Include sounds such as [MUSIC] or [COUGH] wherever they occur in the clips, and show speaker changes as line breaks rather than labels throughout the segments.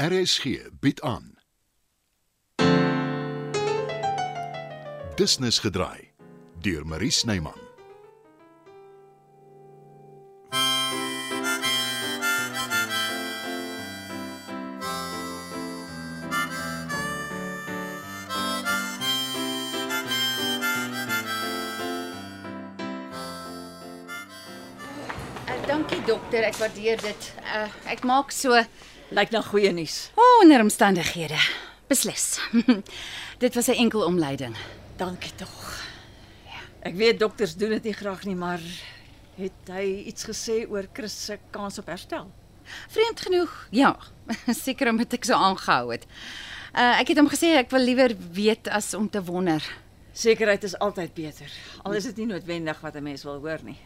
RSG bied aan. Business gedraai deur Marie Snyman.
Uh, dankie dokter, ek waardeer dit. Uh, ek maak so
Lyk na goeie nuus.
oh, onder omstandighede. Beslis. [LAUGHS] dit was 'n enkel omleiding.
Dankie tog. Ja. Ek weet dokters doen dit nie graag nie, maar het hy iets gesê oor Chris se kans op herstel?
Vreemd genoeg, ja. [LAUGHS] Seker omdat ek so aangehou het. Uh, ek het hom gesê ek wil liewer weet as om te wonder.
Sekerheid is altyd beter, al is dit nie noodwendig wat 'n mens wil hoor nie.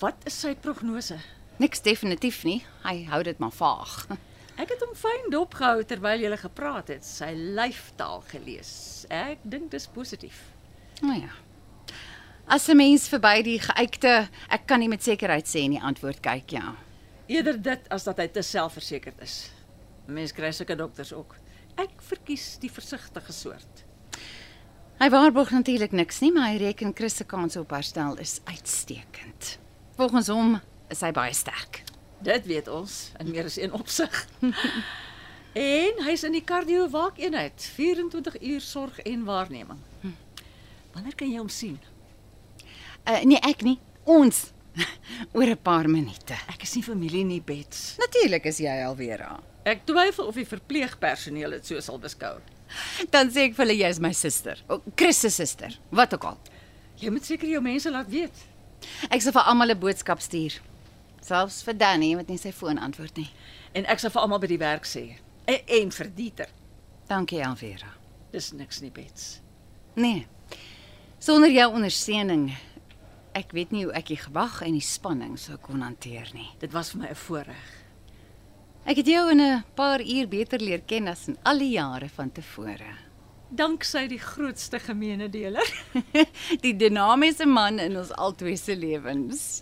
Wat is sy prognose?
Niks definitief nie. Hy hou dit maar vaag. [LAUGHS]
Ek het hom fyn dopgehou terwyl jy gepraat het, sy lyftaal gelees. Ek dink dis positief.
Nou ja. As 'n mens verby die geuite, ek kan nie met sekerheid sê nie, antwoord kyk ja.
Eerder dit as dat hy te selfversekerd is. Mense kry sulke dokters ook. Ek verkies die versigtige soort.
Hy waarborg natuurlik niks nie, maar hy reken Chris se kans op herstel is uitstekend. Volgens hom is hy baie sterk.
Dit weet ons in meer as een opsig. en hy's in die kardiovakeenheid, 24 uur sorg en waarneming. Wanneer kan jy hom sien?
Uh, nee, ek nie. Ons [LAUGHS] oor 'n paar minute.
Ek is nie familie nie, Bets.
Natuurlik is jy alweer daar.
Ek twyfel of die verpleegpersoneel dit so sal beskou.
Dan sê ek vir hulle jy is my suster. O, Chris se suster, wat ook al.
Jy moet seker jou mense laat weet.
Ek sal vir almal 'n boodskap stuur. Selfs vir Danny wat nie sy foon antwoord nie.
En ek sal vir almal by die werk sê. En, en vir Dieter.
Dankie, Alvera.
Dis niks nie, Bets.
Nee. Sonder jou ondersteuning, ek weet nie hoe ek die gewag en die spanning sou kon hanteer nie.
Dit was vir my 'n voorreg.
Ek het jou in 'n paar uur beter leer ken as in al die jare van tevore. [LAUGHS]
Danksy die grootste gemeene deler.
die dinamiese man in ons albei se lewens.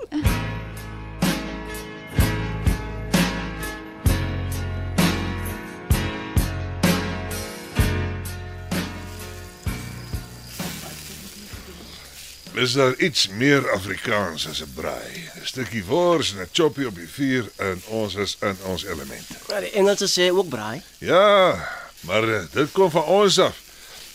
Is daar iets meer Afrikaans as 'n braai? 'n Stukkie wors en 'n choppie op die vuur en ons is in ons elemente.
Maar die Engelse sê ook braai.
Ja, maar eh, dit kom van ons af.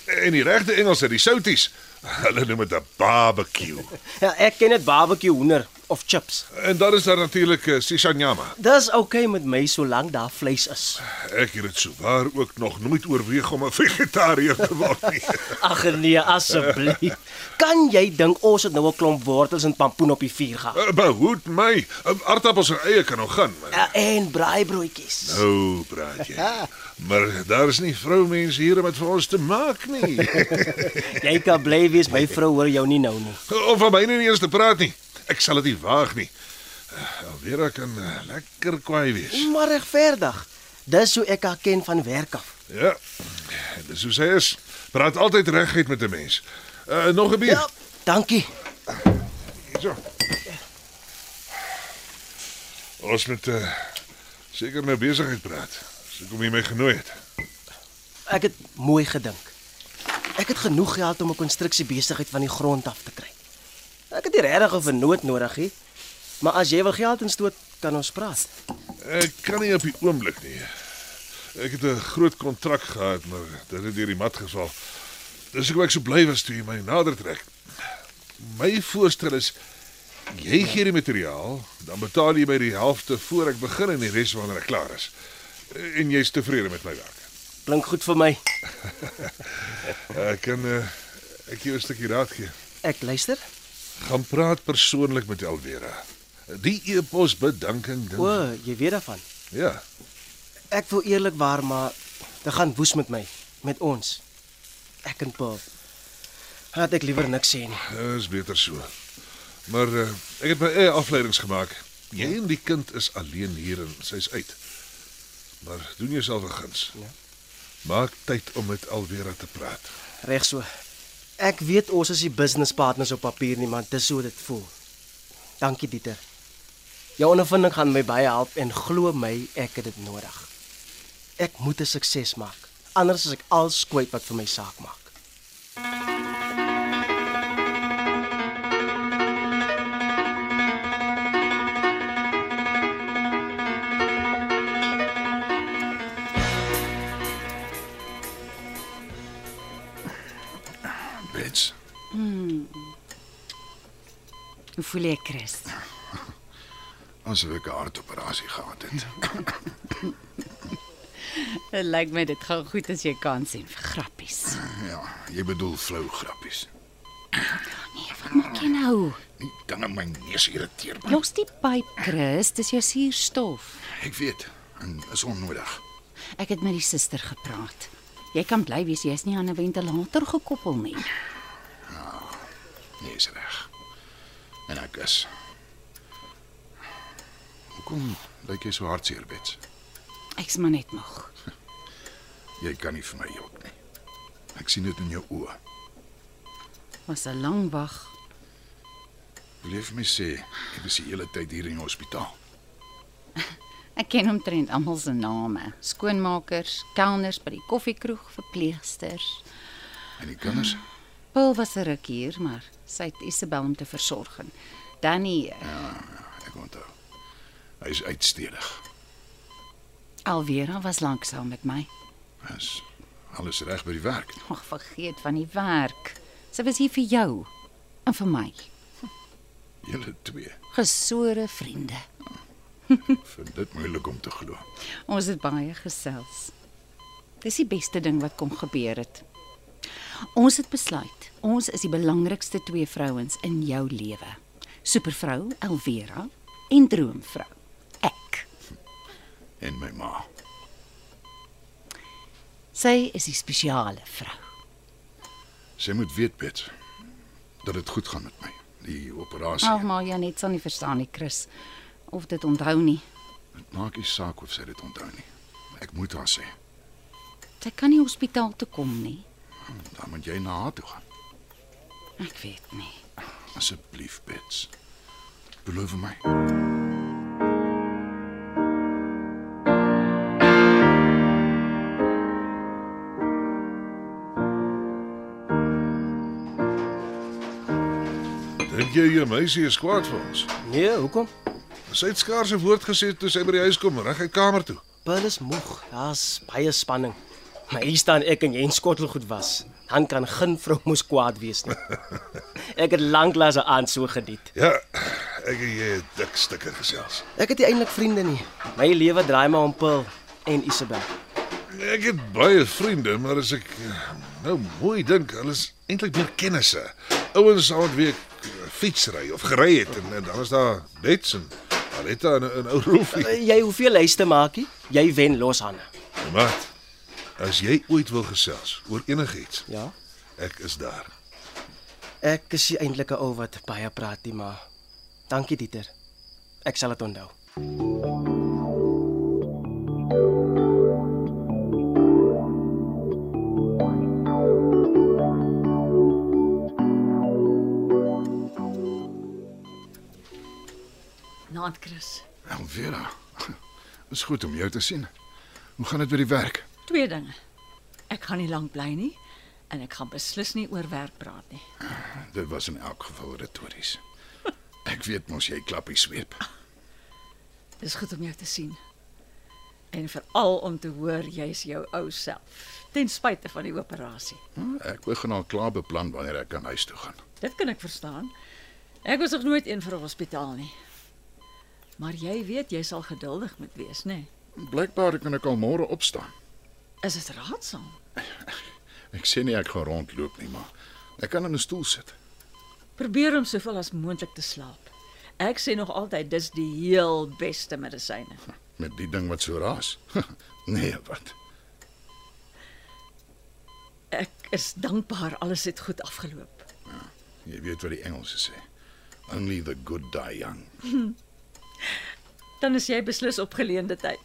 En die regte Engelse, die souties, [LAUGHS] hulle noem dit 'n barbecue.
Ja, ek ken dit barbecue hoender of chips.
En dan is daar natuurlik eh, sisanyama.
Dis oukei okay met my solank daar vleis is.
Ek het dit souwaar ook nog nooit oorweeg om 'n [LAUGHS] vegetariër te word nie. [LAUGHS]
Ag nee, asseblief. Kan jy dink ons het nou 'n klomp wortels en pampoen op die vuur gehad?
Eh, Behoed my, Eh, aardappels en eie kan nog gaan. maar-
Ja, en braaibroodjies.
Nou praat jy. Maar daar is nie vroumense hier om dit vir ons te maak nie.
Jy kan bly wees, my vrou hoor jou nie nou nie.
Of van my nie eens te praat nie. Ek sal dit nie waag nie. Eh, Alvera kan eh, lekker kwaai wees.
Maar regverdig. Dis hoe ek haar ken van werk af.
Ja. Dis hoe sy is. Praat altyd reguit met 'n mens. Uh, nog 'n bier.
Ja,
Ja.
dankie.
So. Ons moet uh, seker nou besigheid praat. So kom jy my genooi het.
Ek het mooi gedink. Ek het genoeg geld om 'n konstruksiebesigheid van die grond af te kry. Ek het nie regtig 'n vernoot nodig nie. Maar as jy wil geld instoot, kan ons praat.
Ek kan nie op die oomblik nie. Ek het 'n groot kontrak gehad, maar dit het deur die mat geval. Dis hoekom ek so bly was toe jy my nader trek. My voorstel is jy gee die materiaal, dan betaal jy my die helfte voor ek begin en die res wanneer ek klaar is. En jy's tevrede met my werk.
Klink goed vir my.
Ek kan eh, ek jou 'n stukkie raad gee.
Ek luister.
Gaan praat persoonlik met Alvera. Die e-pos bedanking ding.
O, jy weet daarvan.
Ja.
Ek wil eerlikwaar maar dit gaan woes met my, met ons. Ek en Paul. Laat ek liewer niks sê nie.
Dis beter so. Maar uh, ek het my eie afleidings gemaak. Jy en die kind is alleen hier en sy's uit. Maar doen jouself 'n guns. Ja.
Ja.
Maak tyd om met Alvera te praat.
Reg so. Ek weet ons is nie business partners op papier nie, maar dis hoe dit voel. Dankie Dieter. Jou ondervinding gaan my baie help en glo my, ek het dit nodig. Ek moet 'n sukses maak. Anders is ek alles kwyt wat vir my saak maak.
Bets,
Hoe voel jy, Chris?
asof ek 'n hartoperasie gehad het.
Dit lyk my dit gaan goed as jy kan sien vir grappies.
Ja, jy bedoel flou grappies.
Nee, wat maak jy nou?
Die ding in my neus irriteer my.
Los die pyp, Chris, dis jou suurstof.
Ek weet, en is onnodig.
Ek het met die suster gepraat. Jy kan bly wees, jy's nie aan 'n ventilator gekoppel nie.
Nee, is reg. En ek is. Hoekom lyk jy so hartseer, Bets?
Ek's maar net moeg.
Jy kan nie vir my jok nie. Ek sien dit in jou oë.
Was 'n lang wag.
Wil jy vir my sê jy was die hele tyd hier in die hospitaal?
Ek ken omtrent almal se name: skoonmakers, kelners by die koffiekroeg, verpleegsters.
En die kinders?
Paul was 'n ruk hier, maar sy het Isabel om te versorg. en Danny, eh,
Ek onthou. Hy is uitstedig.
Alvera was lanksaam met my. [LAUGHS]
Is alles reg by die werk?
Ag, vergeet van die werk. Sy was hier vir jou en vir my.
Julle twee.
Gesore vriende.
Ek vind dit moeilik om te glo.
Ons het baie gesels. Dis die beste ding wat kon gebeur het. Ons het besluit, ons is die belangrikste twee vrouens in jou lewe. Supervrou Elvera en droomvrou ek.
En my ma.
Sy is die spesiale vrou.
Sy moet weet, Pet, dat dit goed gaan met my. Die operasie.
Ag maar jy net sal nie verstaan nie, Chris, of dit onthou nie.
Dit maak nie saak of sy dit onthou nie. Ek moet haar sê.
Sy kan nie hospitaal toe kom nie.
Dan moet jy na haar toe gaan.
Ek weet nie.
Asseblief, Pet. Beloof my.
Dink jy jou meisie is kwaad vir ons?
Nee, hoekom?
Sy het skaars 'n woord gesê toe sy by die huis kom, reg uit kamer toe.
Paul is moeg. Daar's baie spanning. Maar hier staan ek en jy in skottelgoed was. Dan kan geen vrou mos kwaad wees [LAUGHS] nie. Ek het lanklaas 'n aand so geniet.
Ja, ek en jy het dik stukke gesels.
Ek het nie eintlik vriende nie. My lewe draai maar om Paul en Isabel.
Ek het baie vriende, maar as ek eh, nou mooi dink, hulle is eintlik meer kennisse. Ouens aan wie ek eh, fietsry of gery het en, en dan is daar Bets en Aletta en 'n ou Rolfie.
Uh, Jy hoef nie lys te maak nie. Jy wen los hande.
Maar as jy ooit wil gesels oor enigiets,
Ja.
ek is daar.
Ek is nie eintlik 'n ou wat baie praat nie, maar dankie Dieter. Ek sal dit onthou.
Naand Chris.
Elvera. [LAUGHS] Is goed om jou te sien. Hoe gaan dit by die werk?
Twee dinge. Ek gaan nie lank bly nie en ek gaan beslis nie oor werk praat nie.
Dit was in elk geval retories. Ek weet mos jy klappie sweep.
Dis goed om jou te sien. En veral om te hoor jy's jou ou self ten spyte van die operasie.
Ek begin al klaar beplan wanneer ek aan huis toe gaan.
Dit kan ek verstaan. Ek was nog nooit een vir 'n hospitaal nie. Maar jy weet jy sal geduldig moet wees, nê?
Blykbaar kan ek al môre opstaan.
Is dit raadsaam?
Ek sê nie ek gaan rondloop nie, maar ek kan in 'n stoel sit.
Probeer om soveel as moontlik te slaap. Ek sê nog altyd dis die heel beste medisyne.
Met die ding wat so raas. [LAUGHS] nee, wat?
Ek is dankbaar alles het goed afgeloop.
Jy weet wat die Engelse sê. Only the good die young.
Dan is jy beslis op geleende tyd.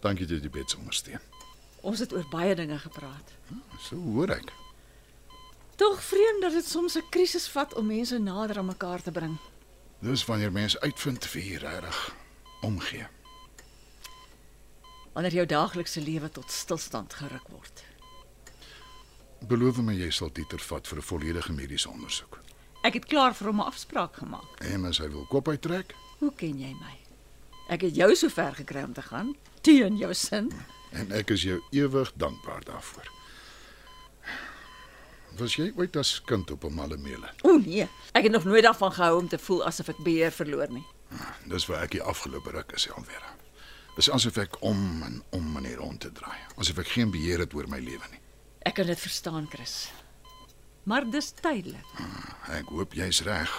Dankie dat jy dit ondersteun.
Ons het oor baie dinge gepraat.
So hoor ek.
Tog vreemd dat dit soms 'n krisis vat om mense nader aan mekaar te bring.
Dis wanneer mense uitvind wie regtig omgee.
wanneer jou daaglikse lewe tot stilstand geruk word.
Beloof my jy sal Dieter vat vir 'n volledige mediese ondersoek.
Ek het klaar vir hom 'n afspraak gemaak.
En as hy wil kop uittrek
Hoe ken jy my? Ek het jou so ver gekry om te gaan teen jou sin.
en ek is jou ewig dankbaar daarvoor. Was jy ooit as kind op 'n malle meule?
O nee, ek het nog nooit daarvan gehou om te voel asof ek beheer verloor nie.
Dis waar ek die afgelope ruk is alweer. Dis asof ek om en om en hier rond te draai. Asof ek geen beheer het oor my lewe nie.
Ek kan dit verstaan, Chris. Maar dis tydelik.
Ek hoop jy's reg.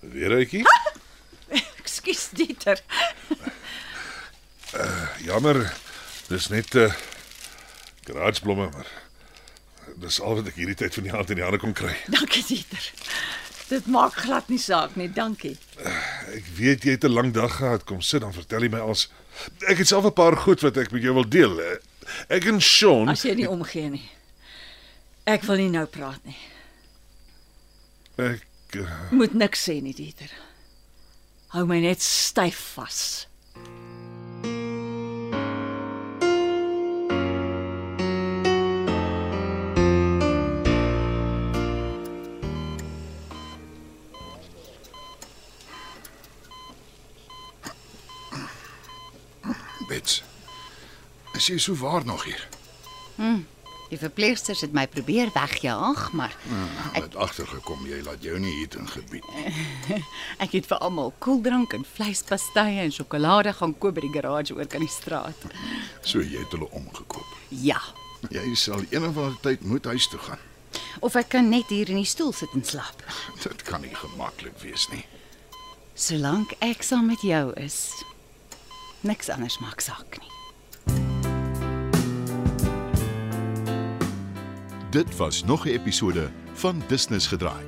Weer uitjie?
Ekskuus Dieter.
Ah, Jammer. Dis net 'n uh, graadsblomme maar. Dis al wat ek hierdie tyd van die aand in die hande kon kry.
Dankie Dieter. Dit maak glad nie saak nie, dankie.
Ek weet jy het 'n lang dag gehad. Kom sit dan vertel jy my als ek het self 'n paar goed wat ek met jou wil deel. Eh, Ek en Sean
As jy nie omgee nie. Ek wil nie nou praat nie.
ek eh,
Moet niks sê nie, Dieter. Hou my net styf vas.
Bets. Is jy so waar nog hier?
Die verpleegsters het my probeer wegjaag, maar
Ek Nou, het agtergekom jy laat jou nie hier in gebied nie.
ek het vir almal koeldrank en vleispastye en sjokolade gaan koop by die garage oor kan die straat.
So jy het hulle omgekoop.
Ja.
Jy sal eendag tyd moet huis toe gaan.
Of ek kan net hier in die stoel sit en slaap.
Dit kan nie gemaklik wees nie.
Solank ek saam met jou is, niks anders maak saak nie.
Dit was nog 'n episode van Business gedraai.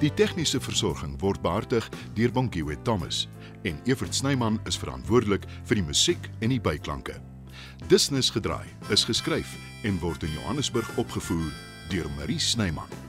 Die tegniese versorging word behartig deur Bongiwet Thomas en Evert Snyman is verantwoordelik vir die musiek en die byklanke. Business gedraai is geskryf en word in Johannesburg opgevoer deur Marie Snyman.